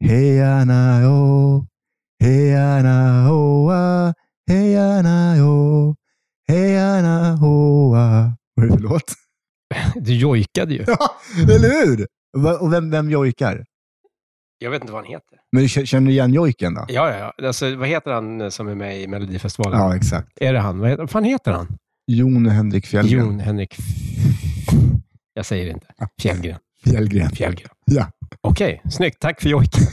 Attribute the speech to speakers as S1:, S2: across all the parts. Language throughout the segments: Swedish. S1: 部屋なよ、部屋なほわ、部屋なよ、部屋なほわ。Vad är det för låt?
S2: Du jojkade ju.
S1: Ja, eller hur? Va- Och vem, vem jojkar?
S2: Jag vet inte vad han heter.
S1: Men du k- känner du igen jojken då?
S2: Ja, ja, ja. Alltså, vad heter han som är med i Melodifestivalen?
S1: Ja, exakt.
S2: Är det han? Vad heter, vad fan heter han?
S1: Jon Henrik Fjällgren.
S2: Jon Henrik... F- Jag säger det inte. Fjällgren.
S1: Fjällgren.
S2: Fjällgren.
S1: Ja.
S2: Okej, snyggt. Tack för jojken.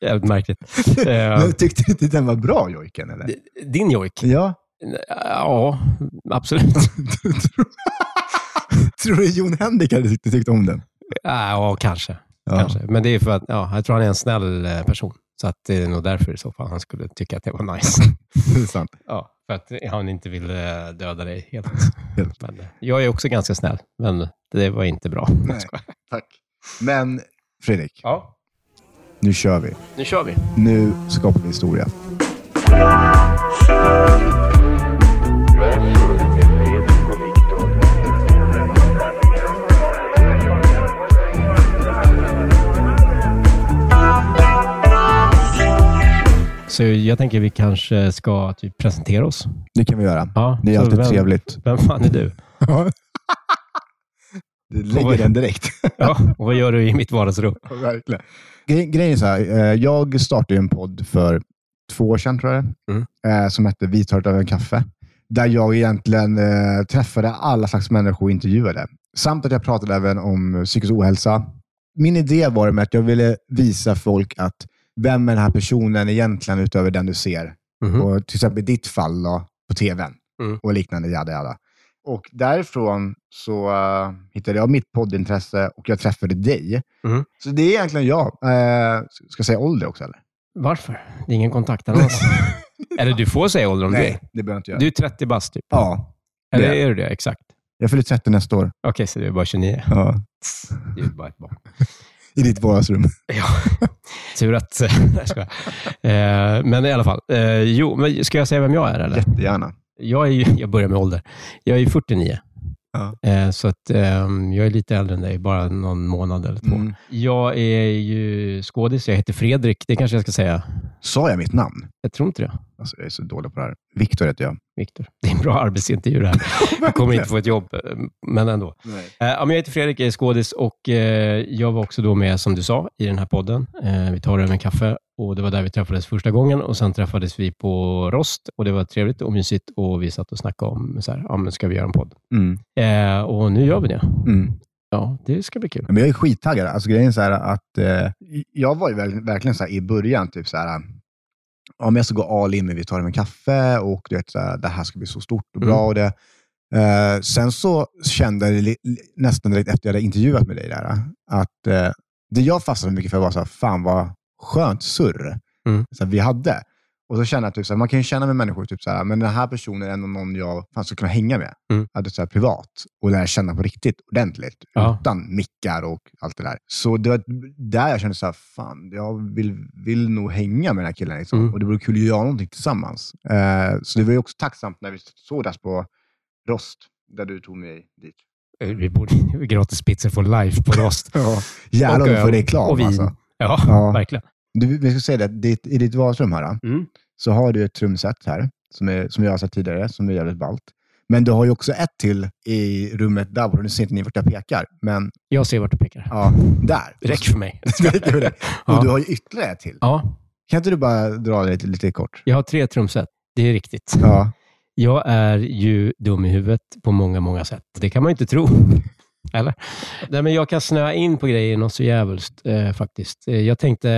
S2: Jävligt märkligt. Eh,
S1: Men Tyckte du inte den var bra, jojken? Eller?
S2: d- Din jojk?
S1: Ja.
S2: Ja, absolut.
S1: Tror du Jon Henrik hade tyckt, tyckt om den?
S2: Ja, kanske.
S1: Ja.
S2: kanske. Men det är för att ja, jag tror han är en snäll eh, person. Så att det är nog därför i så fall han skulle tycka att det var nice.
S1: Det är sant.
S2: Ja, för att han inte vill eh, döda dig helt.
S1: Helt.
S2: Men, eh, jag är också ganska snäll, men det var inte bra.
S1: Nej, tack. Men Fredrik,
S2: Ja,
S1: nu kör vi.
S2: nu kör vi.
S1: Nu skapar vi historia.
S2: Så jag tänker vi kanske ska typ presentera oss.
S1: Det kan vi göra.
S2: Ja,
S1: Det är
S2: så
S1: alltid
S2: vem,
S1: trevligt.
S2: Vem fan är du?
S1: Du lägger den direkt.
S2: Ja, och vad gör du i mitt vardagsrum?
S1: Ja, Verkligen. Gre- Grejen är så här, eh, jag startade ju en podd för två år sedan, tror jag
S2: Mm.
S1: eh, som hette Vi tar ett över en kaffe. Där jag egentligen eh, träffade alla slags människor och intervjuade. Samt att jag pratade även om psykisk ohälsa. Min idé var med att jag ville visa folk att vem är den här personen egentligen utöver den du ser?
S2: Mhm.
S1: Och till exempel i ditt fall då, på tvn
S2: Mm.
S1: och liknande. Jada, jada. Och därifrån så eh, hittade jag mitt poddintresse och jag träffade dig.
S2: Mm.
S1: Så det är egentligen jag. Eh, ska jag säga ålder också eller?
S2: Varför? Det är ingen kontaktannons. Eller du får säga ålder om du
S1: Nej,
S2: vill.
S1: det behöver jag inte göra.
S2: Du är 30 bast typ.
S1: Ja,
S2: Eller
S1: det
S2: är du det? Exakt.
S1: jag fyller 30 nästa år.
S2: Okej, så du är bara 29.
S1: Ja.
S2: Du är bara ett barn.
S1: I ditt vardagsrum.
S2: Ja, tur att... Nej, jag skojar. eh, men i alla fall. Eh, jo, men ska jag säga vem jag är? Eller?
S1: Jättegärna.
S2: Jag, är ju, jag börjar med ålder. Jag är ju 49.
S1: Ja.
S2: Eh, så att, ehm, jag är lite äldre än dig, bara någon månad eller två.
S1: Mm.
S2: Jag är ju skådis. Jag heter Fredrik. Det kanske jag ska säga.
S1: Sa jag mitt namn?
S2: Jag tror inte det.
S1: Alltså, jag är så dålig på det här. Viktor heter jag.
S2: Viktor. Det är en bra arbetsintervju det här. Jag kommer inte få ett jobb, eh, men ändå.
S1: Nej.
S2: Eh, ja, men jag heter Fredrik, jag är skådis och eh, jag var också då med, som du sa, i den här podden. Eh, vi tar över en kaffe och det var där vi träffades första gången och sen träffades vi på Rost och det var trevligt och mysigt och vi satt och snackade om, så här, ja, men ska vi göra en podd?
S1: Mm.
S2: Eh, och nu gör vi det.
S1: Mm.
S2: Ja, det ska bli kul.
S1: Men jag är skittaggad. Alltså, grejen är så här att eh, jag var ju verkligen, verkligen så här i början, typ så här, ja, men jag ska gå all in, men vi tar en kaffe och du vet, så här, det här ska bli så stort och bra.
S2: Mm.
S1: Och det. Eh, sen så kände jag li- li- nästan direkt efter jag hade intervjuat med dig där, att eh, det jag fastnade mycket för var så här, fan vad skönt surr
S2: Mm.
S1: så här, vi hade. Och så känner jag typ så här, man kan ju känna med människor, typ så här, men den här personen är ändå någon jag fan skulle kunna hänga med.
S2: Mm.
S1: Att det är så här, privat och lära känna på riktigt ordentligt
S2: Ja.
S1: utan mickar och allt det där. Så det var där jag kände så här, fan, jag vill, vill nog hänga med den här killen. Liksom.
S2: Mm.
S1: Och det vore kul att göra någonting tillsammans. Eh, så det var ju också tacksamt när vi sågs på Rost, där du tog mig dit.
S2: Eh, Vi borde gratis pizza for life på Rost.
S1: Ja. Jävlar
S2: Och
S1: vad du får
S2: öl.
S1: reklam
S2: Och vin.
S1: alltså.
S2: Ja,
S1: Ja.
S2: verkligen.
S1: Du, vi ska säga det, att ditt, i ditt vardagsrum här, då,
S2: Mm.
S1: så har du ett trumset här, som, är, som jag har sett tidigare, som är jävligt ballt. Men du har ju också ett till i rummet där borta. Nu ser inte ni vart jag pekar, men
S2: Jag ser vart du pekar.
S1: ja, där.
S2: Det räcker för mig.
S1: Det räcker med det.
S2: Ja.
S1: Och du har ju ytterligare ett till.
S2: Ja,
S1: Kan inte du bara dra det lite, lite kort?
S2: jag har tre trumset. Det är riktigt.
S1: Ja.
S2: Jag är ju dum i huvudet på många, många sätt. Det kan man ju inte tro. Eller? Nej, men jag kan snöa in på grejer något så jävligt eh, faktiskt. Eh, Jag tänkte,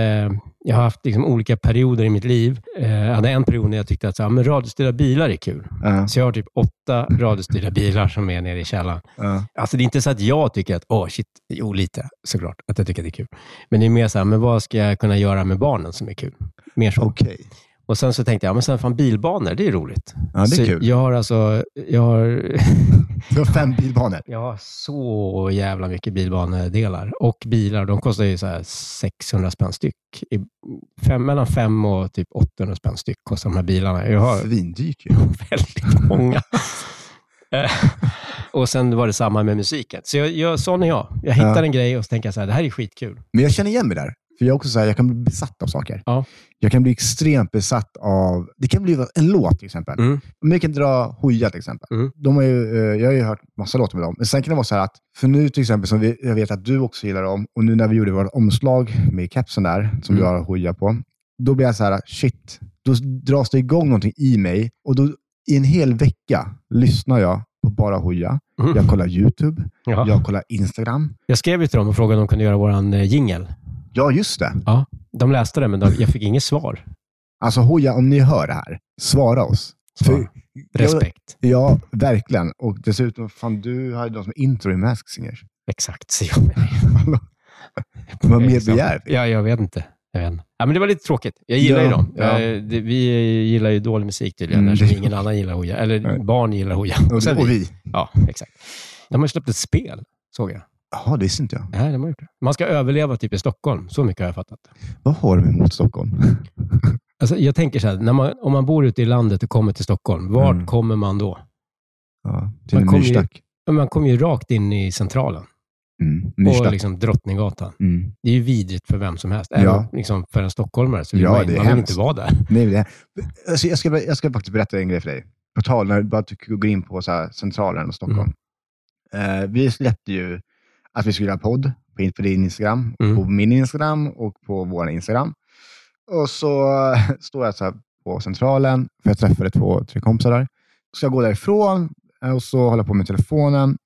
S2: jag har haft liksom, olika perioder i mitt liv. Eh, jag hade en period när jag tyckte att så här, men radiostyrda bilar är kul.
S1: Ja.
S2: Så jag har typ åtta radiostyrda bilar som är nere i källaren.
S1: Ja.
S2: Alltså det är inte så att jag tycker att, åh shit, jo lite såklart, att jag tycker att det är kul. Men det är mer så här, men vad ska jag kunna göra med barnen som är kul? Mer så.
S1: Okej.
S2: Och sen så tänkte jag, men sen fan bilbanor, det är roligt.
S1: Ja, det är
S2: så
S1: kul.
S2: Jag har alltså, jag har,
S1: Du har fem bilbanor.
S2: jag har så jävla mycket bilbanedelar. Och bilar, de kostar ju så här 600 spänn styck. I fem, mellan 5 och typ 800 spänn styck kostar de här bilarna. Jag har
S1: Svindyrt ju.
S2: väldigt många. Eh, och sen var det samma med musiken. Så jag, jag, sån är jag. Jag hittar
S1: Ja.
S2: en grej och så tänker jag så här, det här är skitkul.
S1: Men jag känner igen mig där. För För jag är också så här, jag kan bli besatt av saker.
S2: Ja.
S1: Jag kan bli extremt besatt av... Det kan bli en låt till exempel.
S2: Mm.
S1: Men jag kan dra Hooja till exempel.
S2: Mm.
S1: De har ju, eh, jag har ju hört massa låtar med dem. Men sen kan det vara så här att, för nu till exempel, som vi, jag vet att du också gillar dem, och nu när vi gjorde vårt omslag med kepsen där, som
S2: Mm.
S1: du har Hooja på, då blir jag så här, shit. Då dras det igång någonting i mig och då i en hel vecka lyssnar jag på bara Hooja.
S2: Mm.
S1: Jag kollar YouTube,
S2: Ja.
S1: jag kollar Instagram.
S2: Jag skrev ju till dem och frågade om de kunde göra vår jingel.
S1: Ja, just det.
S2: De läste den, men de, jag fick inget svar.
S1: Alltså Hooja, om ni hör det här, svara oss.
S2: Så,
S1: För-
S2: respekt.
S1: Ja, verkligen. Och dessutom, fan du hade dem som intro i Mask Singers.
S2: Exakt. Så jag,
S1: Vad mer
S2: Exakt.
S1: begär vi?
S2: ja, jag vet inte. Jag vet inte. Ja, men det var lite tråkigt. Jag gillar
S1: Ja,
S2: ju dem.
S1: ja.
S2: Eh, det, vi gillar ju dålig musik tydligen,
S1: Mm,
S2: eftersom
S1: det-
S2: ingen annan gillar Hooja. Eller
S1: Nej.
S2: barn gillar Hooja.
S1: Och,
S2: sen
S1: och vi.
S2: Ja, exakt. De har ju släppt ett spel, såg jag.
S1: Jaha, det visste inte jag.
S2: Nej, de har gjort det. Man ska överleva typ i Stockholm. Så mycket har jag fattat.
S1: Vad har de emot Stockholm?
S2: Alltså, jag tänker så här, när man, om man bor ute i landet och kommer till Stockholm, vart
S1: Mm.
S2: kommer man då?
S1: Ja, till en
S2: Man kommer ju-
S1: myrstack.
S2: Ja, Man kommer ju rakt in i Centralen
S1: Mm,
S2: och
S1: myrstack.
S2: liksom Drottninggatan.
S1: Mm.
S2: Det är ju vidrigt för vem som helst.
S1: Ja.
S2: Även liksom för en stockholmare så vill
S1: Ja,
S2: man,
S1: det är
S2: man vill inte
S1: hemskt.
S2: vara där.
S1: Nej, det alltså, jag, ska, jag ska faktiskt berätta en grej för dig. På tal, när du bara tycker- går in på så här, centralen och Stockholm. Eh, vi släppte ju att vi skulle göra en podd på, in- på din Instagram,
S2: Mm.
S1: på min Instagram och på vår Instagram. Och så eh, står jag så här på centralen, för jag träffade två, tre kompisar där. Så jag går därifrån eh, och så håller jag på med telefonen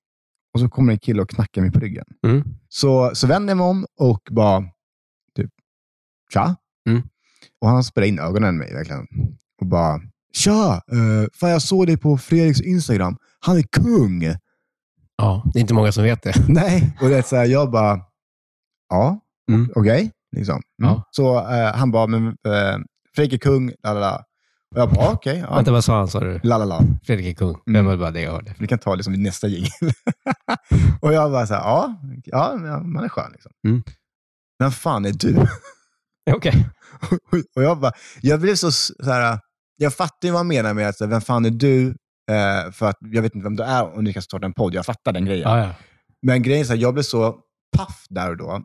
S1: och så kommer en kille och knackar mig på ryggen.
S2: Mm.
S1: Så, så vänder jag mig om och bara typ, tja.
S2: Mm.
S1: Och han spelade in ögonen i mig verkligen. Och bara, tja! eh, fan, jag såg dig på Fredriks Instagram. Han är kung!
S2: Ja, det är inte många som vet det.
S1: Nej. Och det är så här, jag bara, ja,
S2: Mm.
S1: okej. Liksom. Mm.
S2: Ja.
S1: Så eh, han bara, men eh, Fredrik är kung, la la la. Och jag bara, okej,
S2: Vänta,
S1: ja.
S2: vad sa han? Sa du?
S1: La la la.
S2: Fredrik är kung. Det
S1: Mm.
S2: var bara det jag hörde.
S1: Vi kan ta liksom vid nästa jingel. och jag bara så här, ja, ja, man är skön liksom.
S2: Mm.
S1: Vem fan är du?
S2: Okej.
S1: Och jag bara, jag blev så, s- så här, jag fattar ju vad han menar med att så här, vem fan är du? Eh, för att jag vet inte vem du är och ni ska starta en podd. Jag fattar den grejen.
S2: Ja, ja.
S1: Men grejen är så här, jag blev så paff där och då.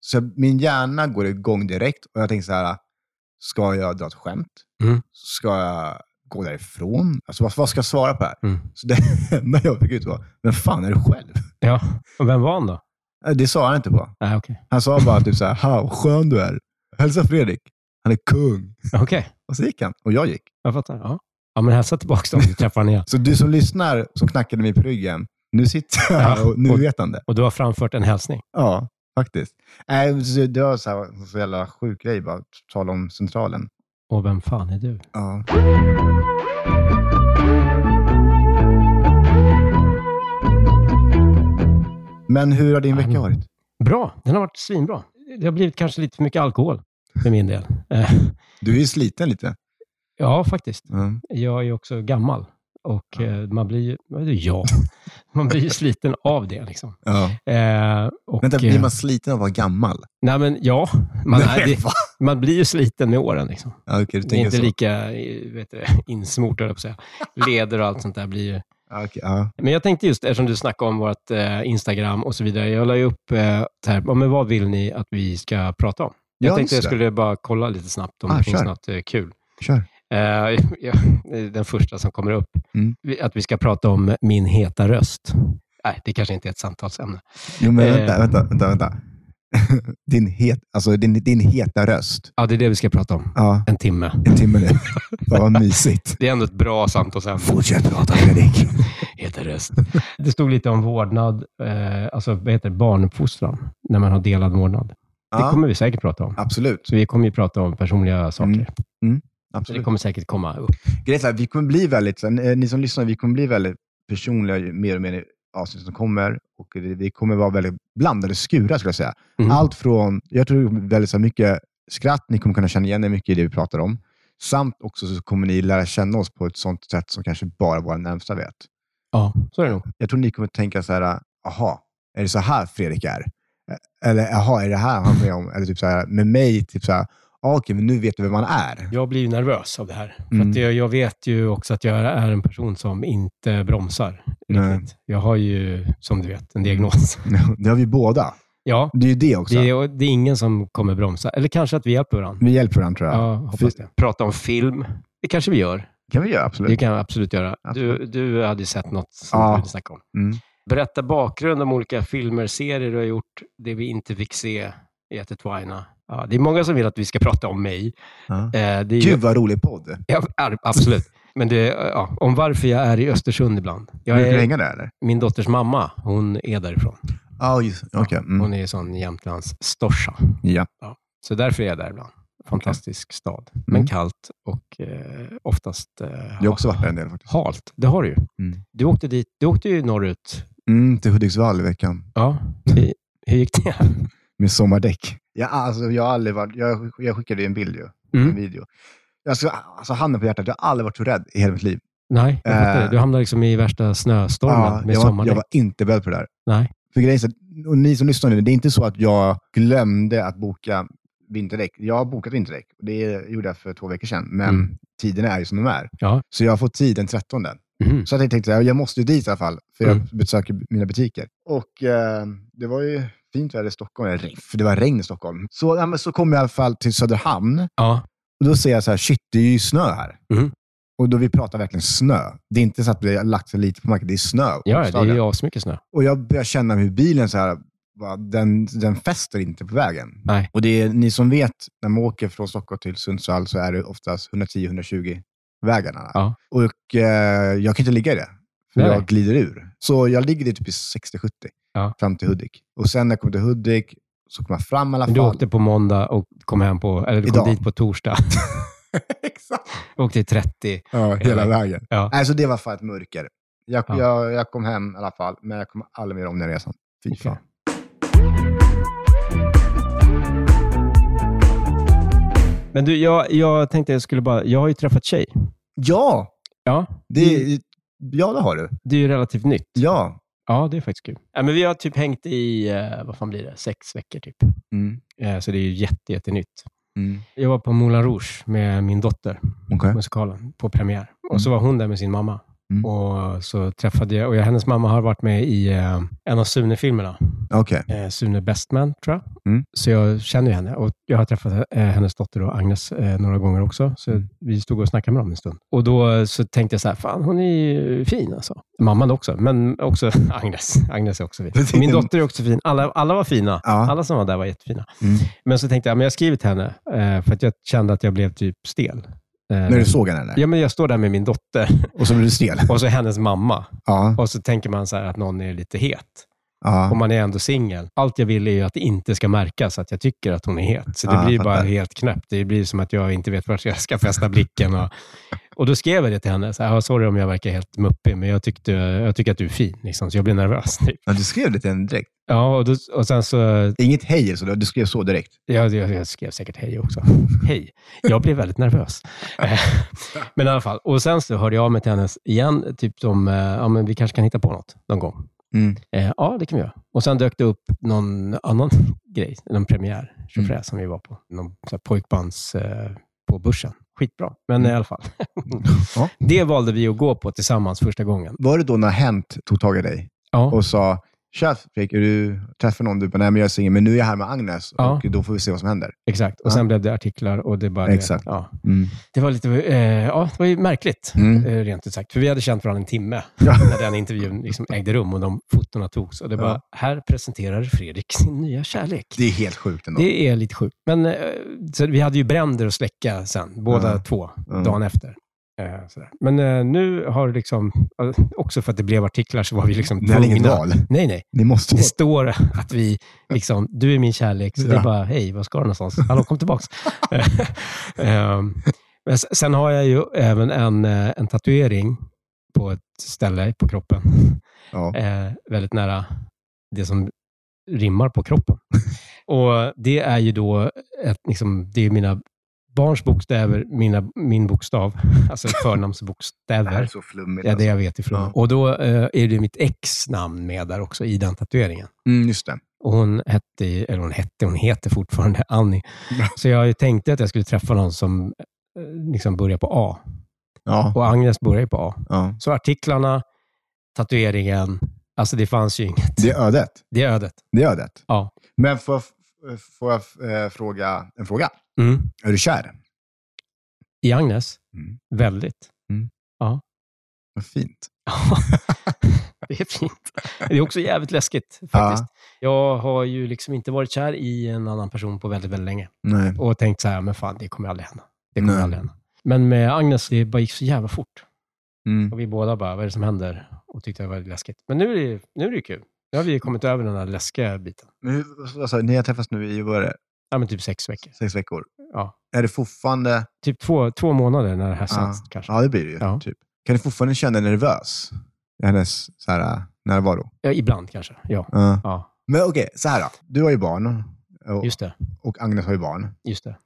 S1: Så min hjärna går igång direkt och jag tänker så här, ska jag dra ett skämt?
S2: Mm.
S1: Ska jag gå därifrån? Alltså vad, vad ska jag svara på det här?
S2: Mm.
S1: Så det enda jag fick ut var, vem fan är du själv?
S2: ja. Och vem var han då?
S1: Eh, Det sa han inte på.
S2: Nej, okej.
S1: Han sa bara typ så här, ha, vad skön du är. Hälsa Fredrik. Han är kung.
S2: Okej,
S1: Och så gick han. Och jag gick.
S2: jag fattar. Ja. ja, men hälsa tillbaka då om du träffar honom igen.
S1: Så du som lyssnar, som knackade mig på ryggen, nu sitter jag här
S2: Ja,
S1: och nu
S2: och-
S1: vet han det.
S2: Och du har framfört en hälsning.
S1: Ja, faktiskt. Äh, så det var så, här, så jävla sjuk grej, bara att tala om centralen.
S2: Och vem fan är du?
S1: Ja. Men hur har din vecka varit?
S2: Bra. Den har varit svinbra. Det har blivit kanske lite för mycket alkohol för min del. Eh,
S1: Du är ju sliten lite.
S2: Ja, faktiskt.
S1: Mm.
S2: Jag är ju också gammal och eh, man blir ju, vad är det, jag? Man blir ju sliten av det. Liksom.
S1: Ja.
S2: Eh, och,
S1: Vänta,
S2: eh,
S1: blir man sliten av att vara gammal?
S2: Nej, men ja. Man, nej, det,
S1: va?
S2: man blir ju sliten med åren. Liksom.
S1: Ja, Okej, du
S2: Det är
S1: tänker
S2: inte
S1: så.
S2: lika eh, vet du, insmort, höll jag på att säga. Leder och allt sånt där blir ju...
S1: Ja, okej, ja.
S2: Men jag tänkte just, eftersom du snackade om vårt eh, Instagram och så vidare. Jag la ju upp eh, så här, ja, men vad vill ni att vi ska prata om? Jag
S1: Ja,
S2: tänkte jag
S1: just det.
S2: skulle bara kolla lite snabbt om
S1: Ah,
S2: det finns
S1: kör.
S2: något eh, kul.
S1: Kör.
S2: Eh, ja, den första som kommer upp.
S1: Mm.
S2: Vi- Att vi ska prata om min heta röst. Nej, det kanske inte är ett samtalsämne.
S1: Jo, men
S2: Eh.
S1: vänta, vänta, vänta. vänta. Din, het, alltså, din, din heta röst.
S2: Ja, det är det vi ska prata om.
S1: Ja.
S2: En timme.
S1: en timme nu. Fan vad mysigt.
S2: Det är ändå ett bra samtalsämne.
S1: Fortsätt prata Fredrik.
S2: Heta röst. Det stod lite om vårdnad, eh, alltså vad heter det, barnuppfostran, när man har delad vårdnad. Det
S1: Ja,
S2: kommer vi säkert prata om.
S1: Absolut.
S2: Så vi kommer ju prata om personliga saker.
S1: Mm,
S2: Så det
S1: absolut.
S2: kommer säkert komma upp.
S1: Grejen är så här, vi kommer bli väldigt, så här, eh, ni som lyssnar, vi kommer bli väldigt personliga ju mer och mer i avsnitt som kommer. Och det- vi kommer vara väldigt blandade skurar skulle jag säga.
S2: Mm.
S1: Allt från, jag tror det kommer bli väldigt så här, mycket skratt, ni kommer kunna känna igen er mycket i det vi pratar om. Samt också så kommer ni lära känna oss på ett sånt sätt som kanske bara våra närmsta vet.
S2: Ja, så är det nog.
S1: Jag tror ni kommer tänka så här, aha, är det så här Fredrik är? Eller aha, är det här han är med om? Eller typ så här, med mig, typ så här, ah, okej, men nu vet du vem man är.
S2: Jag blir ju nervös av det här. För
S1: Mm.
S2: att jag, jag vet ju också att jag är en person som inte bromsar.
S1: Nej.
S2: Riktigt. Jag har ju, som du vet, en diagnos.
S1: Det har vi båda.
S2: Ja,
S1: Det är ju det också.
S2: det är, det är ingen som kommer bromsa. Eller kanske att vi hjälper varandra.
S1: Vi hjälper varandra tror jag.
S2: Ja, hoppas det. Prata om film. Det kanske vi gör.
S1: kan vi göra,
S2: Det
S1: absolut.
S2: kan vi absolut göra. Du, du hade ju sett något som
S1: Ja.
S2: vi ville snacka om.
S1: Mm.
S2: Berätta bakgrund om olika filmer, serier du har gjort, det vi inte fick se i Ett Twina. Ja, det är många som vill att vi ska prata om mig.
S1: Ja.
S2: Eh, det är ju,
S1: Gud vad rolig podd.
S2: ja, ar- absolut. Men det, eh, ja, om varför jag är i Östersund ibland. Jag
S1: Brukar du
S2: är,
S1: hänga där eller?
S2: min dotters mamma, hon är därifrån.
S1: Ja, just Okej. Mm.
S2: Hon är sån Jämtlands storsa.
S1: Ja.
S2: Så därför är jag där ibland. Fantastisk stad, men
S1: Mm.
S2: kallt och eh, oftast eh,
S1: Jag har också varit där en del faktiskt.
S2: halt. Det har du ju.
S1: Mm.
S2: Du åkte dit, du åkte ju norrut.
S1: Mm, till Hudiksvall i veckan
S2: Ja. Hur, hur gick det?
S1: med sommardäck. Ja, alltså, jag, har aldrig varit, jag, jag skickade ju en bild ju. En
S2: Mm.
S1: video. Jag ska, alltså, handen på hjärtat, jag har aldrig varit så rädd i hela mitt liv.
S2: Nej, jag fattar
S1: Eh.
S2: det. Du hamnade liksom i värsta snöstormen
S1: Ja,
S2: med
S1: jag, var, jag
S2: sommardäck.
S1: var inte beredd på det där.
S2: Nej.
S1: För grejen är, så att- och ni som lyssnar nu, det är inte så att jag glömde att boka vinterdäck. Jag har bokat vinterdäck. Det gjorde jag för två veckor sedan, men
S2: Mm.
S1: tiden är ju som den är.
S2: Ja.
S1: Så jag har fått tid den 13.
S2: Mhm.
S1: Så att jag tänkte att jag måste ju dit i alla fall, för jag
S2: Mm.
S1: besöker mina butiker. Och eh, det var ju fint väder i Stockholm, eller regn, för det var regn i Stockholm. Så, ja, men så kom jag i alla fall till Söderhamn
S2: Ja.
S1: och då ser jag så här, shit, det är ju snö här.
S2: Mhm.
S1: Och då vi pratar verkligen snö. Det är inte så att vi har lagt sig lite på marken, det är snö.
S2: ja, det är
S1: bokstavligen.
S2: ju asmycket snö.
S1: Och jag börjar känna hur bilen så här, bara, den, den fäster inte på vägen.
S2: Nej.
S1: Och det är, ni som vet, när man åker från Stockholm till Sundsvall så är det oftast 110-120 vägarna.
S2: Ja.
S1: Och eh, jag kan inte ligga i det, för
S2: Nej, nej.
S1: jag glider ur. Så jag ligger i typ i 60-70
S2: Ja.
S1: fram till Hudik. Och sen när jag kommer till Hudik så kommer jag fram i alla
S2: Men
S1: fall.
S2: du åkte på måndag och kom hem på, eller du kom
S1: Idag.
S2: dit på torsdag.
S1: Exakt.
S2: åkte i 30.
S1: Ja, hela
S2: Eller-
S1: vägen.
S2: Ja.
S1: Nej, så det var fan ett mörker. Jag,
S2: Ja.
S1: jag, jag kom hem i alla fall, men jag kommer aldrig mer om den resan. Fy
S2: Okej.
S1: fan.
S2: Men du, jag, jag tänkte jag skulle bara, jag har ju träffat tjej.
S1: Ja,
S2: Ja,
S1: det, ja, det har du.
S2: det är ju relativt nytt.
S1: Ja.
S2: Ja, det är faktiskt kul. Ja, men vi har typ hängt i, eh, vad fan blir det, sex veckor typ.
S1: Mm.
S2: Eh, så det är ju jätte, jättenytt.
S1: Mm.
S2: Jag var på Moulin Rouge med min dotter,
S1: Okej.
S2: musikalen, på premiär. Och så var hon där med sin mamma.
S1: Mm.
S2: Och så träffade jag, och jag, hennes mamma har varit med i eh, en av Sune-filmerna.
S1: Okej.
S2: eh, Sune Bestman, tror jag.
S1: Mm.
S2: Så jag känner ju henne och jag har träffat eh, hennes dotter och Agnes eh, några gånger också. Så
S1: Mm.
S2: vi stod och snackade med dem en stund. Och då eh, så tänkte jag så här, fan hon är ju fin alltså. Mamman också, men också Agnes. Agnes är också fin.
S1: Precis.
S2: Och Min dotter är också fin. Alla, alla var fina.
S1: Ja.
S2: Alla som var där var jättefina.
S1: Mm.
S2: Men så tänkte jag, men jag har skrivit till henne eh, för att jag kände att jag blev typ stel. Eh,
S1: När du såg henne? Eller?
S2: Ja, men jag står där med min dotter
S1: Och så blev du stel?
S2: och så hennes mamma.
S1: Ja.
S2: Och så tänker man så här att någon är lite het om
S1: ja.
S2: man är ändå singel. Allt jag vill är ju att det inte ska märkas att jag tycker att hon är het. Så det
S1: Ah,
S2: blir
S1: fattar.
S2: bara helt knäppt. Det blir som att jag inte vet vart jag ska fästa blicken. Och, och då skrev jag det till henne. Så här, "Ah, sorry om jag verkar helt muppig, men jag, tyckte, jag tycker att du är fin. Liksom, så jag blir nervös. Typ.
S1: ja du skrev det till henne direkt.
S2: Ja, och, då, och sen så...
S1: Inget hej, eller så, du skrev så direkt.
S2: Jag, jag, jag skrev säkert hej också. Hej. Jag blev väldigt nervös. Eh, men i alla fall. Och sen så hörde jag av mig till henne igen. Typ som, eh, ja men vi kanske kan hitta på något någon gång.
S1: Mm.
S2: Eh, ja, det kan vi göra. Och sen dök det upp någon annan grej, någon premiär, tjofräs, som vi var på. Någon så här, pojkbands eh, på börsen. Skitbra, men i alla fall.
S1: Ja.
S2: Det valde vi att gå på tillsammans första gången.
S1: Var det då när Hent tog tag i dig
S2: Ja,
S1: och sa Tja Fredrik, är du träffar någon? Du bara, nej men jag är singel, men nu är jag här med Agnes
S2: Ja.
S1: och då får vi se vad som händer.
S2: exakt. Och sen blev det artiklar och det bara...
S1: Exakt.
S2: Ja.
S1: Mm.
S2: Det var lite, eh, ja, det var ju märkligt,
S1: Mm.
S2: eh, rent ut sagt. För vi hade känt varandra en timme
S1: Ja.
S2: när den intervjun liksom ägde rum och de fotona togs. Och det bara, här presenterar Fredrik sin nya kärlek.
S1: Det är helt sjukt ändå.
S2: Det är lite sjukt. Men eh, så vi hade ju bränder att släcka sen, båda
S1: Ja.
S2: två,
S1: Ja.
S2: dagen efter. Eh, sådär. Men eh, nu har det liksom, eh, också för att det blev artiklar så var vi liksom
S1: Ni hade inget val.
S2: Nej, nej.
S1: Ni måste
S2: Det står att vi, liksom, du är min kärlek, så det
S1: Ja.
S2: är bara, hej, var ska du någonstans? Hallå, kom tillbaks. Eh, men s- sen har jag ju även en, eh, en tatuering på ett ställe på kroppen,
S1: Ja.
S2: eh, väldigt nära det som rimmar på kroppen. Och Det är ju då ett, liksom, det är mina barns bokstäver, mina, min bokstav, alltså
S1: Det här är
S2: förnamnsbokstäver.
S1: så flummigt.
S2: Ja, det
S1: alltså.
S2: jag vet ifrån.
S1: Ja.
S2: Och då eh, är det mitt ex namn med där också i den tatueringen.
S1: Mm, just det.
S2: Och hon hette, ju- eller hon hette, hon heter fortfarande Annie. Så jag har ju tänkte att jag skulle träffa någon som eh, liksom börjar på A.
S1: Ja.
S2: Och Agnes börjar ju på A.
S1: Ja.
S2: Så artiklarna, tatueringen Alltså det fanns ju inget.
S1: Det är ödet.
S2: Det är ödet.
S1: Det är ödet.
S2: Ja.
S1: Men får jag, f- får jag eh, fråga en fråga?
S2: Mm.
S1: Är du kär?
S2: I Agnes?
S1: Mm.
S2: Väldigt.
S1: Vad fint.
S2: Ja, det är fint. Det är också jävligt läskigt faktiskt. Jag har ju liksom inte varit kär i en annan person på väldigt, väldigt länge
S1: Nej.
S2: och tänkt så här, men fan, det kommer aldrig hända. Det kommer
S1: Nej.
S2: aldrig hända. Men med Agnes, det bara gick så jävla fort.
S1: Mm.
S2: Och vi båda bara, vad är det som händer? Och tyckte det var läskigt. Men nu är det, nu är det ju kul. Nu
S1: Mm.
S2: har vi ju kommit över den här läskiga biten.
S1: Men hur, alltså, ni har träffats nu i vad är det,
S2: Ja, men typ sex veckor.
S1: sex veckor.
S2: Ja.
S1: Är det fortfarande...
S2: Typ två, två månader när det här sänds
S1: ja.
S2: kanske.
S1: ja, det blir det ju.
S2: Ja.
S1: Typ. Kan du fortfarande känna dig nervös? i Hennes så här, äh, närvaro?
S2: Ja, ibland kanske, ja.
S1: Ja.
S2: ja.
S1: Men okej, så här då. Du har ju barn och,
S2: Just det.
S1: och Agnes har ju barn.
S2: Just det.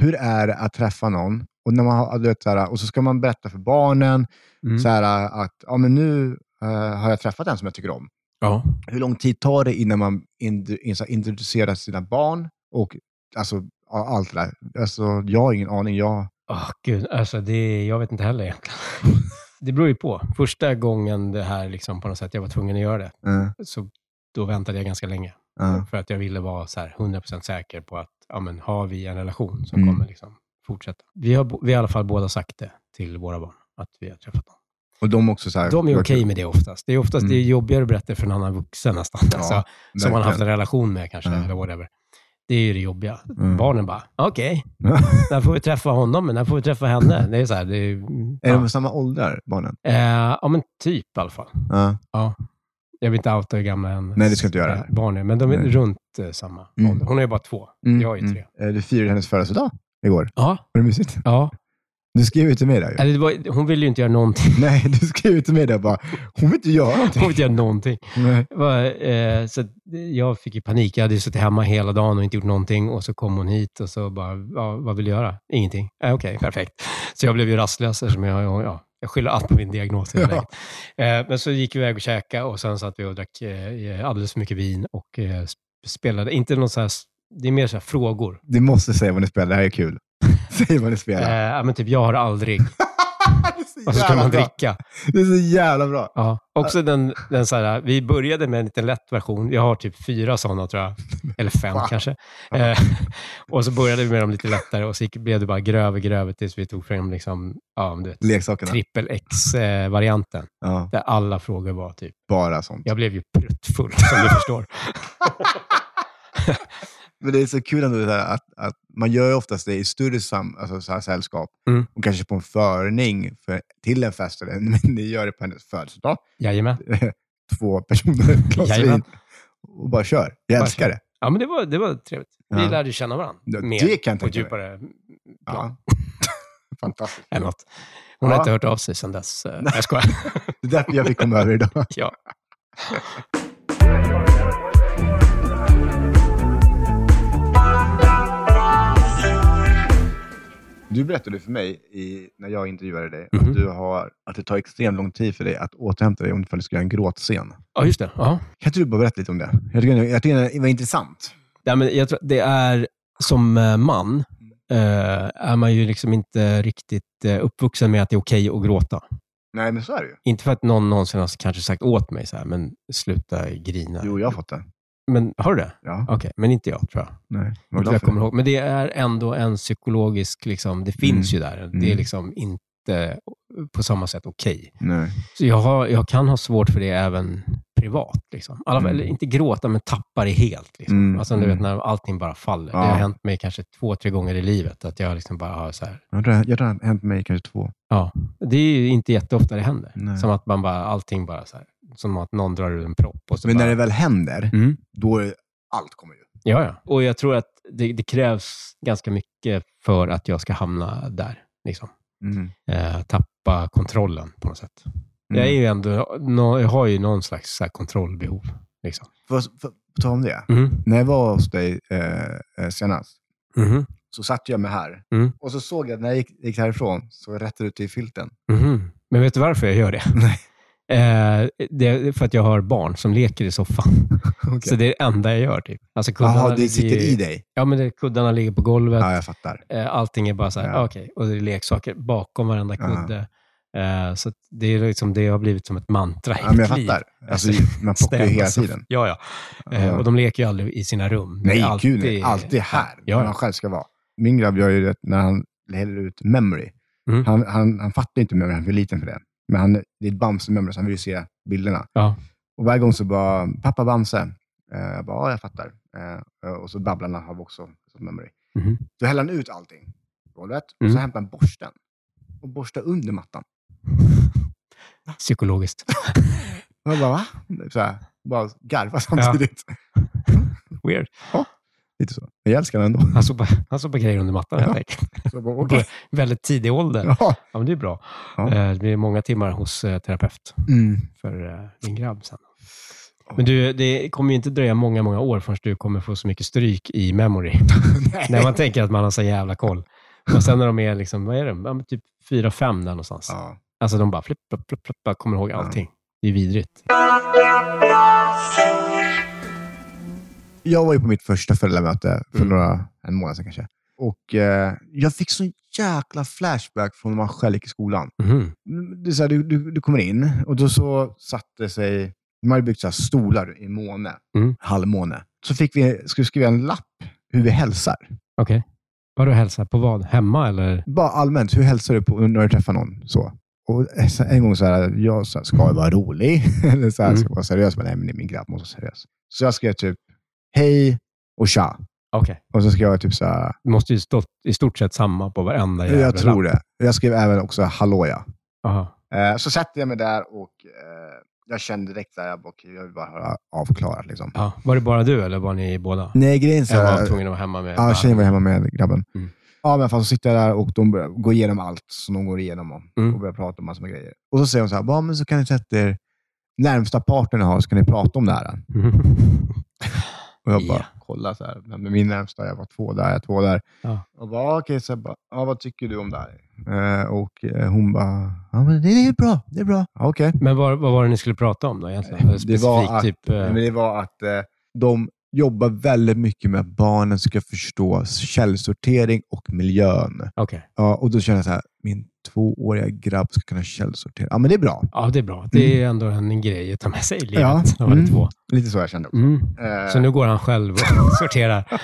S1: Hur är det att träffa någon och, när man har, du vet, så här, och så ska man berätta för barnen
S2: Mm.
S1: så här, äh, att ja, men nu äh, har jag träffat en som jag tycker om.
S2: Ja.
S1: Hur lång tid tar det innan man in, in, så här, introducerar sina barn och alltså, ja, allt det där? Alltså, jag har ingen aning. Jag,
S2: Åh gud, alltså det, jag vet inte heller egentligen. Det beror ju på. Första gången det här liksom på något sätt, jag var tvungen att göra det,
S1: äh,
S2: så då väntade jag ganska länge.
S1: äh,
S2: För att jag ville vara så här 100% säker på att, ja men har vi en relation som
S1: Mm.
S2: kommer liksom fortsätta. Vi har, bo- vi har i alla fall båda sagt det till våra barn, att vi har träffat dem.
S1: och de också så här,
S2: De är okej med det oftast. Det är oftast
S1: Mm.
S2: det är jobbigare att berätta för en annan vuxen nästan.
S1: Ja,
S2: alltså, som man har haft en
S1: verkligen.
S2: relation med kanske,
S1: Ja.
S2: eller whatever. Det är ju det jobbiga.
S1: Mm.
S2: Barnen bara, okej, när får vi träffa honom? Men när får vi träffa henne? Det är så här, det är, ju-
S1: Är
S2: ja.
S1: de på samma ålder, barnen?
S2: Eh, ja, men typ i alla fall.
S1: Ja.
S2: Jag vill inte outa hur gamla en
S1: Nej, det ska du inte göra.
S2: eh, barn är, men de är
S1: Nej.
S2: runt eh, samma
S1: Mm.
S2: ålder. Hon är ju bara två. Jag är ju tre.
S1: Eh, Du firade hennes födelsedag igår.
S2: Ja.
S1: Var det mysigt?
S2: ja.
S1: Du skrev ju till mig där ju.
S2: Eller det var, hon ville ju inte göra någonting.
S1: Nej, du skrev ju till mig där bara, hon vill inte göra
S2: Hon
S1: någonting.
S2: ville inte göra någonting.
S1: Nej.
S2: Det var, eh, så att jag fick ju panik. Jag hade ju suttit hemma hela dagen och inte gjort någonting och så kom hon hit och så bara, ja, vad vill du göra? Ingenting. Eh, Okej, perfekt. Så jag blev ju rastlös eftersom jag, jag- ja, jag skyller allt på min diagnos.
S1: Ja.
S2: Ja. Eh, men så gick vi iväg och käkade och sen satt vi och drack eh, alldeles för mycket vin och eh, sp- spelade, inte någon så här, det är mer så här frågor.
S1: Du måste säga vad ni spelar, det här är kul. Säg vad ni
S2: Eh,
S1: spelar.
S2: ja, men typ, jag har aldrig.
S1: det, är
S2: Och så
S1: så
S2: skulle
S1: jävla
S2: man
S1: bra.
S2: dricka.
S1: det är så jävla bra.
S2: Ja. Också den, den så här, vi började med en liten lätt version. Jag har typ fyra sådana tror jag. Eller fem
S1: Fan.
S2: kanske. Eh, och så började vi med dem lite lättare och så gick, blev det bara grövre grövre tills vi tog fram liksom, ja, du vet,
S1: Leksakerna.
S2: trippel X-varianten.
S1: Ja,
S2: Där alla frågor var typ,
S1: bara sånt.
S2: jag blev ju pruttfull som du förstår.
S1: Men det är så kul ändå det här att, att man gör ju oftast det i större sam, alltså så här sällskap.
S2: Mm.
S1: Och kanske på en förning för, till en fest. Eller, men ni gör det på hennes födelsedag.
S2: Jajamän.
S1: Två personer, ett glas
S2: Jajamän.
S1: vin. Och bara kör. Jag
S2: Bara
S1: älskar det.
S2: Ja, men det var, det var trevligt. Vi
S1: Ja.
S2: lärde ju känna varandra.
S1: Ja,
S2: mer
S1: det kan jag
S2: på ett
S1: tänka mig.
S2: djupare
S1: Ja. Fantastiskt.
S2: än något. Hon har
S1: Ja.
S2: inte hört av sig sedan dess. Eh, Jag skojar.
S1: Det är därför jag fick komma över idag.
S2: ja.
S1: Du berättade för mig i, när jag intervjuade dig
S2: Mhm.
S1: att, du har, att det tar extremt lång tid för dig att återhämta dig om du skulle göra en gråtscen.
S2: ja, just det. Ja.
S1: Kan inte du bara berätta lite om det? Jag tycker, jag tycker det var intressant.
S2: Nej, men jag tror att det är som eh, man eh, är man ju liksom inte riktigt eh, uppvuxen med att det är okej att gråta.
S1: Nej, men så är det ju.
S2: Inte för att någon någonsin har kanske sagt åt mig så här, men sluta grina.
S1: Jo, jag har fått det. Men,
S2: Men har du det?
S1: ja,
S2: Okej, men inte jag tror jag.
S1: nej.
S2: Inte vad
S1: glad
S2: jag
S1: för det.
S2: kommer ihåg. Men det är ändå en psykologisk, liksom, det finns ju där. Det är
S1: Mm.
S2: liksom inte på samma sätt okej.
S1: Nej.
S2: Så jag, har, jag kan ha svårt för det även privat. Liksom. Alla,
S1: Mm.
S2: Eller inte gråta, men tappa det helt. Liksom.
S1: Mm,
S2: Alltså, du
S1: mm.
S2: vet, när allting bara faller. Det
S1: Ja.
S2: har hänt mig kanske två, tre gånger i livet. Att jag liksom bara har så här,
S1: Jag tror, jag tror det har hänt mig kanske två.
S2: ja. Det är ju inte jätteofta det händer.
S1: Nej.
S2: Som att man bara, allting bara så här, som att någon drar ur en propp. Och så
S1: Men
S2: bara,
S1: när det väl händer,
S2: mm,
S1: då är allt kommer ju.
S2: ja, ja. Och jag tror att det, det krävs ganska mycket för att jag ska hamna där. Liksom.
S1: Mm.
S2: Eh, tappa kontrollen på något sätt. Jag, är ju ändå, nå- jag har ju någon slags så här, kontrollbehov. Liksom.
S1: Får jag- får jag ta om det?
S2: Mm.
S1: När jag var hos dig eh, eh, senast,
S2: Mhm.
S1: så satt jag mig här.
S2: Mm.
S1: Och så såg jag, när jag gick, gick härifrån, så rättade ut i filten.
S2: Mhm. Men vet du varför jag gör det?
S1: Mm-hmm. Nej.
S2: Eh, det är för att jag har barn som leker i soffan.
S1: Okej.
S2: Så det är det enda jag gör. Typ. Alltså kuddarna
S1: Jaha, det
S2: ligger
S1: sitter i dig?
S2: Ja, men det, kuddarna ligger på golvet.
S1: Ja, jag fattar.
S2: Eh, Allting är bara så här,
S1: Ja.
S2: okej. Och det är leksaker bakom varenda
S1: Ja.
S2: kudde. Eh, Så att det, är liksom, det har blivit som ett mantra i
S1: Ja, men jag
S2: mitt liv.
S1: fattar. Alltså, man plockar ju
S2: Städa
S1: hela
S2: sig.
S1: tiden.
S2: Ja, ja. Eh,
S1: Ja.
S2: Och de leker ju aldrig i sina rum. Det
S1: Nej,
S2: är
S1: alltid, gud Alltid här,
S2: Ja,
S1: där
S2: ja.
S1: man själv ska vara. Min grabb gör ju det när han häller ut memory.
S2: Mm.
S1: Han, han, han fattar inte memory, han är för liten för det. Men han, det är ett Bamse-memory, så han vill ju se bilderna.
S2: Ja.
S1: Och varje gång så bara, pappa Bamse. Eh, Jag bara, ja, jag fattar. Eh, Och så babblarna har vi också som memory.
S2: Mhm.
S1: Då häller han ut allting på golvet och så
S2: Mm.
S1: hämtar han borsten och borstar under mattan.
S2: Mm-hmm. Psykologiskt.
S1: Och jag bara, va? Så här, bara garvar samtidigt.
S2: Weird.
S1: Lite så. Men jag älskar den ändå.
S2: Han sopar, han sopar grejer under mattan helt
S1: Ja.
S2: enkelt.
S1: Så jag bara, okej.
S2: Väldigt tidig ålder.
S1: Ja.
S2: Ja, men det är bra.
S1: Ja.
S2: Eh, Det blir många timmar hos eh, terapeut
S1: Mm.
S2: för eh, din grabb sen. Men du, det kommer ju inte dröja många, många år förrän du kommer få så mycket stryk i memory. när man tänker att man har så jävla koll. Och sen när de är liksom, vad är de? Ja, men typ fyra fem där någonstans.
S1: Ja.
S2: Alltså de bara flipp, flipp, flipp, flipp, bara kommer ihåg allting. Det är vidrigt.
S1: Jag var ju på mitt första föräldramöte för
S2: Mm.
S1: några, en månad sedan kanske. Och eh, jag fick sån jäkla flashback från när man själv gick i skolan.
S2: Mhm.
S1: Det är så här, du, du, du kommer in och då så satte sig... De hade byggt så här stolar i måne,
S2: Mm.
S1: halvmåne. Så fick vi, skulle vi skriva en lapp hur vi hälsar.
S2: Okej. Vad du hälsar på vad? Hemma eller?
S1: Bara allmänt, hur hälsar du på, när du träffar någon? Så. Och eh, så- en gång så här, jag så här, ska jag vara rolig? Eller så här,
S2: Mm.
S1: ska jag vara seriös? Men nej, men det är min grabb måste vara seriös. Så jag skrev typ, hej och tja.
S2: Okej.
S1: Och så skrev jag typ så här,
S2: Det måste ju stå i stort sett samma på varenda jävla
S1: Jag tror det. Jag skrev även också hallå ja.
S2: Aha.
S1: Eh, Så satte jag mig där och eh, jag kände direkt där, jag, bara, okej, jag vill bara höra avklarat. Liksom.
S2: Ja. Var det bara du eller var ni båda?
S1: Nej, grejen så
S2: Jag var
S1: här,
S2: tvungen att vara hemma med...
S1: ja, Tjejen var hemma med grabben.
S2: Mm.
S1: Ja, men fan, så sitter jag där och de börjar gå igenom allt som de går igenom om,
S2: Mm.
S1: och börjar prata om massor med grejer. Och så säger de så här, "Ja, men så kan ni sätta er närmsta parten ni har så kan ni prata om det här.
S2: Mhm.
S1: Och jag bara
S2: Ja.
S1: kollar så här. Vem är min närmsta? Jag var två där, jag två där.
S2: Ja.
S1: Och bara, okej, så jag bara, ja, vad tycker du om det här? Eh, och eh, hon bara, ja, men det är bra, det är bra. Ja, Okej.
S2: Men vad, vad var det ni skulle prata om då egentligen?
S1: Nej, det var
S2: Specifikt
S1: att-
S2: typ... eh,
S1: Men det var att eh, de jobbar väldigt mycket med att barnen ska förstå källsortering och miljön.
S2: Okej.
S1: Ja, och då känner jag så här, min tvååriga grabb ska kunna källsortera. Ja, men det är bra.
S2: Ja, det är bra. Det är ändå en grej att ta med sig i livet.
S1: Ja.
S2: när man är
S1: Mm.
S2: två.
S1: Lite så jag kände också.
S2: Mm.
S1: Eh,
S2: Så nu går han själv och sorterar.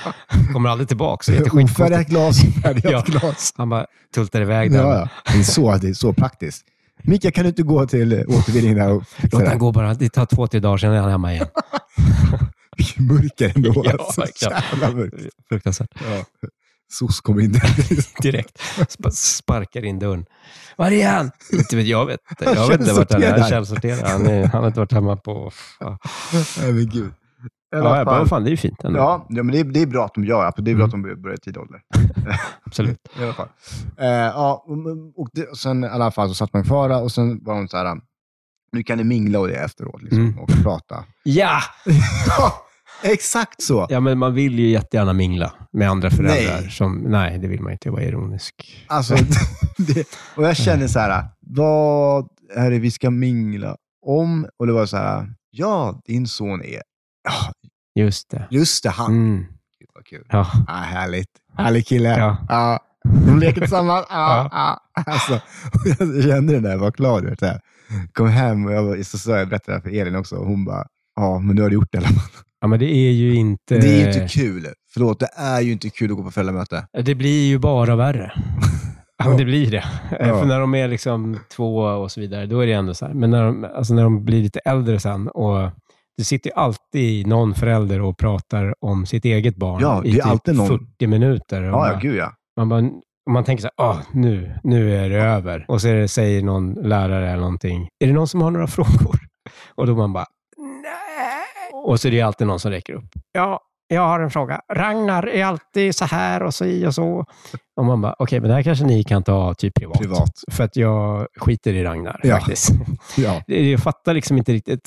S2: Kommer aldrig tillbaka. Så det är jätteskitkonstigt.
S1: Ofärgat Eh, glas, färgat
S2: Ja.
S1: glas.
S2: Han bara tultar iväg där.
S1: Ja, ja. Det, är så, det är så praktiskt. Mikael, kan du inte gå till eh, återvinningen där och fixa
S2: Låt
S1: det?
S2: han gå bara. Det tar två, tre dagar, sen är han hemma igen.
S1: Vilken mörker ändå.
S2: Ja,
S1: alltså.
S2: verkligen.
S1: Jävla mörkt.
S2: Fruktansvärt.
S1: Ja. Sos kom in där.
S2: Direkt. Sp- sparkar in dörren. Var är han? Inte vet jag. Vet. inte. Jag vet inte vart han är. Han källsorterar. Han, är, han har inte varit hemma på... Ja,
S1: Nej, men gud.
S2: ja, jag bara, fan, Mm. det är ju fint ändå.
S1: Ja, ja, men det, är, det är bra att de gör det. Det är bra att de börjar i tidig ålder.
S2: Absolut.
S1: I alla fall. Eh,
S2: Mm.
S1: ja, och, och, det, och sen i alla fall så satt man kvar där och sen var de så här, nu kan ni mingla och det efteråt liksom,
S2: Mm.
S1: och prata.
S2: Ja!
S1: ja, exakt så.
S2: ja, men man vill ju jättegärna mingla med andra föräldrar.
S1: Nej.
S2: Som, nej, det vill man inte. Jag var ironisk.
S1: Alltså, det, och jag känner så här, vad är det vi ska mingla om? Och det var så här, ja, din son är, ja,
S2: Just det.
S1: just det, han.
S2: Mm.
S1: Gud, Vad kul.
S2: Ja.
S1: Ja, härligt. Härlig kille. Ja.
S2: ja.
S1: de leker tillsammans. Ja, ja. Alltså, och jag kände den där, jag var glad. Vet jag. Kom hem och jag, var, så, så, jag berättade det här för Elin också. Och hon bara, ja, men nu har du gjort det i alla fall.
S2: Ja, men det är ju inte...
S1: Det är ju typ inte kul. Förlåt, det är ju inte kul att gå på föräldramöte.
S2: Eh, Det blir ju bara värre. Ja, men det blir det. Eh, För när de är liksom två och så vidare, då är det ändå så här. Men när de, alltså när de blir lite äldre sen och det sitter ju alltid någon förälder och pratar om sitt eget barn
S1: Ja, det
S2: i
S1: är alltid någon.
S2: 40 minuter. Och
S1: Ja,
S2: man-
S1: ja, gud ja.
S2: man, bara, och man tänker så här, ah, nu, nu är det över. Och så är det, säger någon lärare eller någonting, är det någon som har några frågor? Och då man bara, nej. Och så är det alltid någon som räcker upp. Ja, jag har en fråga. Ragnar är alltid så här och så i och så. Och man bara, okej, men det här kanske ni kan ta typ privat.
S1: Privat.
S2: För att jag skiter i Ragnar
S1: Ja.
S2: faktiskt.
S1: Ja.
S2: Det- Jag fattar liksom inte riktigt.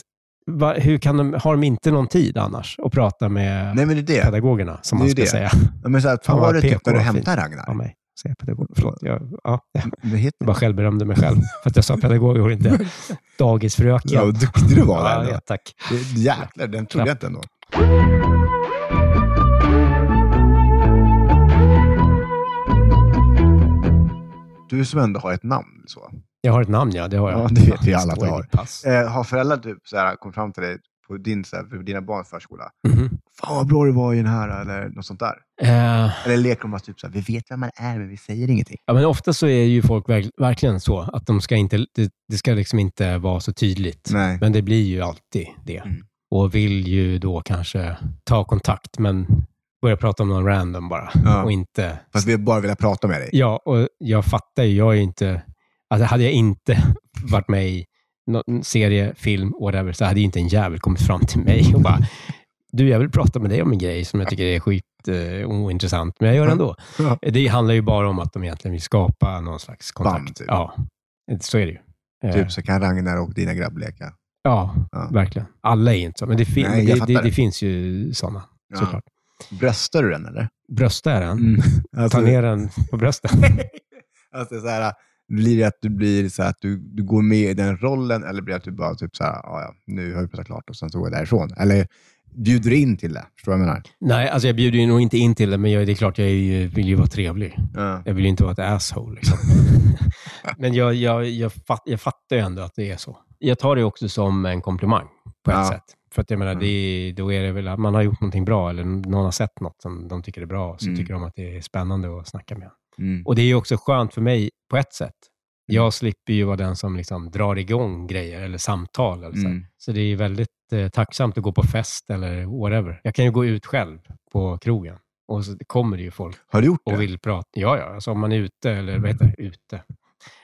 S2: Va, hur kan de, har de inte någon tid annars att prata med
S1: Nej, men det är det.
S2: pedagogerna, som
S1: det är
S2: man
S1: ju
S2: ska
S1: det.
S2: säga?
S1: Ja, Men så här,
S2: Fan,
S1: ta
S2: vad
S1: det typ när
S2: PK
S1: du
S2: var
S1: hämtar
S2: av
S1: Ragnar.
S2: mig. Säga pedagog. Förlåt, jag, ja, jag
S1: Vad heter
S2: bara självberömde mig själv för att jag sa pedagog och inte dagisfröken.
S1: Ja, vad duktig du var där.
S2: ja,
S1: ändå.
S2: ja, tack.
S1: Det- Jäklar, den trodde jag inte ändå. du som ändå har ett namn. Så.
S2: Jag har ett namn, ja. Det har jag.
S1: Ja, det vet vi alla att du
S3: Står i
S1: har.
S3: ditt Pass.
S1: Eh, har föräldrar typ, så här, kommit fram till dig på din, så här, för dina barns förskola?
S2: Mhm.
S1: Fan vad bra du var i den här, eller något sånt där.
S2: Eh,
S1: Eller leker de bara typ så här, vi vet vem man är, men vi säger ingenting.
S2: ja, men ofta så är ju folk verk, verkligen så att de ska inte, det, det ska liksom inte vara så tydligt.
S1: Nej.
S2: Men det blir ju alltid det.
S1: Mm.
S2: Och vill ju då kanske ta kontakt, men börja prata om någon random bara.
S1: Ja.
S2: Och inte...
S1: Fast vi bara vill prata med dig.
S2: Ja, och jag fattar ju. Jag är ju inte... Alltså hade jag inte varit med i någon serie, film, whatever, så hade ju inte en jävel kommit fram till mig och bara Du, jag vill prata med dig om en grej som jag tycker är skit eh, ointressant, men jag gör det
S1: Mm.
S2: ändå.
S1: Ja.
S2: Det handlar ju bara om att de egentligen vill skapa någon slags kontakt.
S1: Band, typ.
S2: Ja, så är det ju. Eh,
S1: Typ så kan Ragnar och dina grabb leka.
S2: Ja,
S1: Ja.
S2: verkligen. Alla är ju inte så, men det, fin-
S1: Nej, jag
S2: det,
S1: fattar
S2: det,
S1: det.
S2: det finns ju sådana.
S1: Ja.
S2: Såklart.
S1: Bröstar du den eller?
S2: Brösta är den.
S1: Alltså,
S2: Ta ner den på brösten.
S1: alltså, så här, blir det att du blir så här, att du, du går med i den rollen eller blir det att du bara typ så här, "Ja, ja, nu har vi pratat klart och sen så går jag därifrån? Eller bjuder du in till det? Förstår du vad jag menar?
S2: Nej, alltså jag bjuder ju nog inte in till det, men jag, det är klart jag är ju, vill ju vara trevlig.
S1: Ja.
S2: Jag vill ju inte vara ett asshole. Liksom. men jag, jag, jag, fat, jag fattar ju ändå att det är så. Jag tar det också som en komplimang på ett
S1: Ja.
S2: sätt. För att jag menar,
S1: Mm.
S2: det, då är det väl att man har gjort någonting bra eller någon har sett något som de tycker är bra, så
S1: Mm.
S2: tycker de att det är spännande att snacka med.
S1: Mm.
S2: Och det är ju också skönt för mig på ett sätt. Jag slipper ju vara den som liksom drar igång grejer eller samtal. Eller så.
S1: Mm.
S2: så det är ju väldigt eh, tacksamt att gå på fest eller whatever. Jag kan ju gå ut själv på krogen och så kommer det ju folk
S1: Har du gjort det?
S2: och vill prata. Ja, ja. Alltså om man är ute, eller vad
S1: Mm.
S2: heter det? Ute.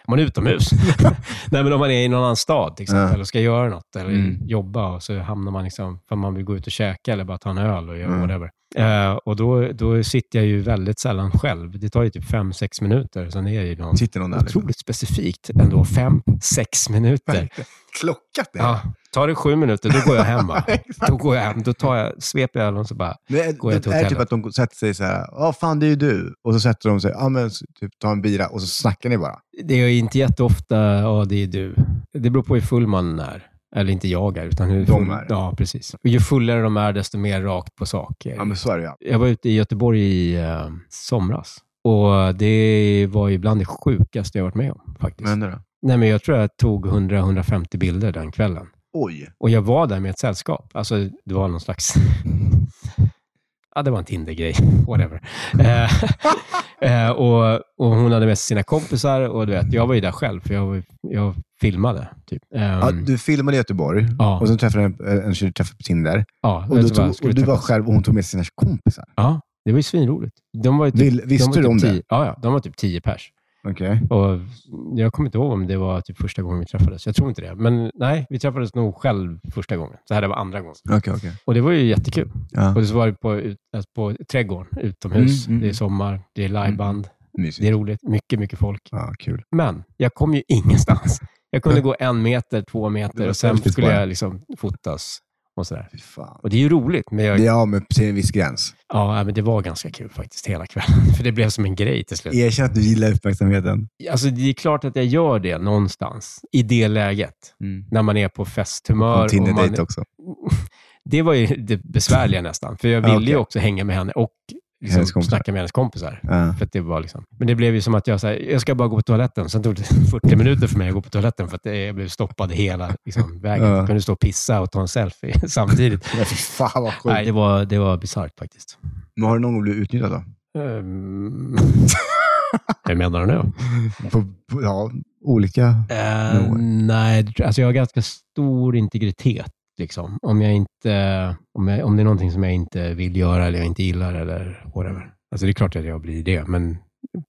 S2: Om man är utomhus. Nej, men om man är i någon annan stad till exempel
S1: Ja.
S2: och ska göra något eller
S1: Mm.
S2: jobba och så hamnar man liksom, för man vill gå ut och käka eller bara ta en öl och göra
S1: Mm.
S2: whatever. Eh, och då, då sitter jag ju väldigt sällan själv. Det tar ju typ fem sex minuter, sen är jag ju någon.
S1: Sitter någon där? liksom?
S2: Otroligt specifikt ändå. fem sex minuter.
S1: Klockat det?
S2: Ja, tar det sju minuter, då går jag hem. Va?
S1: Exakt.
S2: Då går jag hem, då tar jag, sveper jag ölen och så bara,
S1: Men är-
S2: Går jag till
S1: är det typ
S2: hotellet?
S1: att de sätter sig så här, ja fan det är ju du. Och så sätter de sig, ja men så typ ta en bira och så snackar ni bara.
S2: Det är ju inte jätteofta, ja det är du. Det beror på hur full man är. Eller inte jag är, utan hur
S1: De
S2: full,
S1: är.
S2: Ja, precis. Och ju fullare de är, desto mer rakt på saker.
S1: Ja men så är det ja.
S2: Jag var ute i Göteborg i eh, somras. Och det var ju bland det sjukaste jag varit med om faktiskt.
S1: Men då?
S2: Nej, men jag tror jag tog 100-150 bilder den kvällen.
S1: Oj.
S2: Och jag var där med ett sällskap. Alltså, det var någon slags... ja, det var en Tinder-grej. Whatever. Eh, eh, och, och hon hade med sig sina kompisar och du vet, jag var ju där själv, för jag, var- jag filmade. Typ. Ehm,
S1: Ja, du filmade i Göteborg
S2: Ja.
S1: och sen träffade en, en tjej du träffade på Tinder.
S2: ja,
S1: Och,
S2: vet
S1: du,
S2: vad,
S1: tog,
S2: skulle
S1: och du
S2: träffa-
S1: var själv och hon tog med sina kompisar.
S2: Ja, det var ju svinroligt. De var ju typ,
S1: Vill, visste
S2: de var
S1: du
S2: typ
S1: om
S2: tio,
S1: det?
S2: Ja, ja, de var typ tio pers.
S1: Okej.
S2: Och jag kommer inte ihåg om det var typ första gången vi träffades. Jag tror inte det. Men nej, vi träffades nog själv första gången. Så här det var andra gången.
S1: Okej, okej.
S2: Och det var ju jättekul.
S1: Ja.
S2: Och så var det på, ut, alltså på trädgården utomhus.
S1: Mm, mm,
S2: det är
S1: mm.
S2: sommar, det är liveband, det
S1: Mysigt.
S2: är roligt, mycket, mycket folk.
S1: Ja, kul.
S2: Men jag kom ju ingenstans. Jag kunde gå en meter, två
S1: Det
S2: meter
S1: var
S2: och sen
S1: selfies
S2: skulle
S1: bara.
S2: jag liksom fotas och sådär.
S1: Fy fan.
S2: Och det är ju roligt, men, jag,
S1: Ja, men till en viss gräns.
S2: ja, nej, men det var ganska kul faktiskt hela kvällen. För det blev som en grej till slut.
S1: Erkänn att du gillar uppmärksamheten.
S2: Alltså, det är klart att jag gör det någonstans i det läget.
S1: Mm.
S2: När man är på
S1: Och
S2: festhumör. och man-
S1: Tinder-dejt också.
S2: det var ju det besvärliga nästan, för jag
S1: Ja,
S2: ville ju
S1: okej.
S2: också hänga med henne och
S1: Hennes
S2: liksom,
S1: kompisar.
S2: snacka med hennes kompisar.
S1: Ja.
S2: För att det var liksom. Men det blev ju som att jag, så här, jag ska bara gå på toaletten. Sen tog det 40 minuter för mig att gå på toaletten för att jag blev stoppad hela liksom, vägen.
S1: Ja.
S2: Jag kunde stå och pissa och ta en selfie samtidigt.
S1: Men Fy fan vad sjukt.
S2: Nej, det var, det var bisarrt faktiskt.
S1: Men har du någon gång blivit utnyttjad då?
S2: Um, hur menar du nu?
S1: På, på, ja, olika.
S2: Eh,
S1: No way.
S2: nej, det tror- alltså jag har ganska stor integritet. Liksom. Om, jag inte, om, jag, om det är någonting som jag inte vill göra eller jag inte gillar eller whatever. Alltså det är klart att jag blir det, men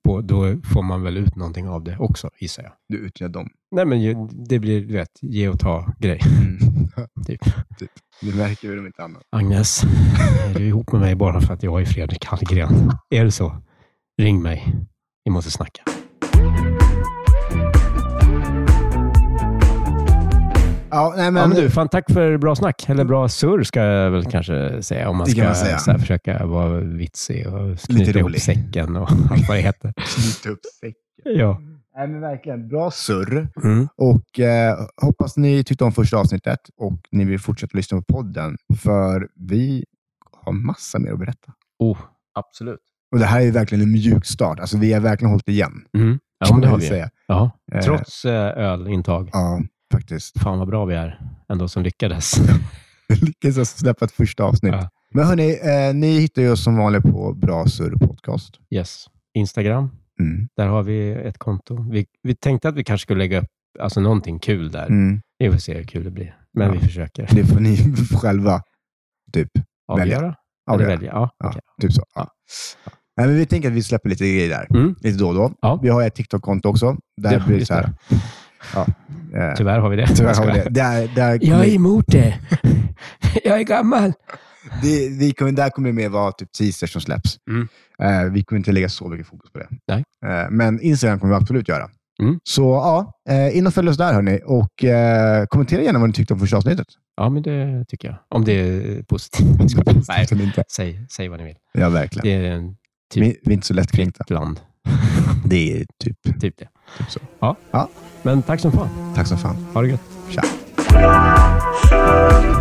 S2: på, då får man väl ut någonting av det också, gissar jag.
S1: Du utnyttjade dem.
S2: Nej, men ju, det blir, du vet, ge och ta grej.
S1: Mm.
S2: Typ.
S1: Du märker ju dem inte annat.
S2: Agnes, är du ihop med mig bara för att jag är Fredrik Hallgren? Är det så? Ring mig. Vi måste snacka.
S1: Ja, nej, men,
S2: Ja, men du, fan tack för bra snack. Eller bra surr ska jag väl kanske säga. Om man
S1: Det
S2: ska
S1: kan man säga.
S2: Så här, försöka vara vitsig och knyta ihop
S1: rolig.
S2: säcken och allt vad det heter.
S1: Knyta upp säcken.
S2: ja.
S1: Typ Nej, men verkligen. Bra surr.
S2: Mm.
S1: Och eh, hoppas ni tyckte om första avsnittet och ni vill fortsätta lyssna på podden, för vi har massa mer att berätta.
S2: Oh, absolut.
S1: Och Det här är verkligen en mjuk start. Alltså, vi har verkligen hållit igen.
S2: Mm. Ja, men
S1: kan
S2: det har
S1: man
S2: vi ju.
S1: säga.
S2: Ja.
S1: Eh,
S2: Trots eh, ölintag.
S1: Ja, faktiskt.
S2: Fan vad bra vi är ändå som lyckades.
S1: Jag lyckades alltså släppa ett första avsnitt.
S2: Ja.
S1: Men hörni, eh, ni hittar ju oss som vanligt på Bra Surr Podcast.
S2: Yes. Instagram,
S1: Mm.
S2: där har vi ett konto. Vi, vi tänkte att vi kanske skulle lägga upp alltså, någonting kul där.
S1: Mm.
S2: Vi får se hur kul det blir. Men
S1: Ja.
S2: vi försöker
S1: Det får ni själva typ Välja.
S2: avgöra. Eller
S1: avgöra.
S2: välja. Ja.
S1: Ja,
S2: okej.
S1: typ så. Ja. Nej, men vi tänker att vi släpper lite grejer där.
S2: Mm.
S1: Lite då och då.
S2: Ja.
S1: Vi har ett TikTok-konto också. Där
S2: Ja,
S1: blir det
S2: just
S1: så här. Ja. Eh,
S2: Tyvärr har vi det.
S1: tyvärr har vi det. Där, där kommer,
S2: emot det. Jag är gammal.
S1: det, vi kommer, där kommer det mer vara typ teasers som släpps.
S2: Mm.
S1: Eh, vi kommer inte lägga så mycket fokus på det.
S2: Nej.
S1: Eh, men Instagram kommer vi absolut göra.
S2: Mm.
S1: Så ja, eh, in och följ oss där hörni. Och eh, kommentera gärna vad ni tyckte om första avsnittet.
S2: Ja, men det tycker jag. Om det är positivt. Skoja. Nej,
S1: Eller inte.
S2: säg, säg vad ni vill.
S1: Ja, verkligen.
S2: Det är en typ-
S1: Vi, vi är inte så lättkränkta.
S2: land.
S1: Det är typ,
S2: Typ det.
S1: typ så.
S2: Ja.
S1: Ja.
S2: Men tack som fan.
S1: Tack som fan.
S2: Ha det gött.
S1: Tja.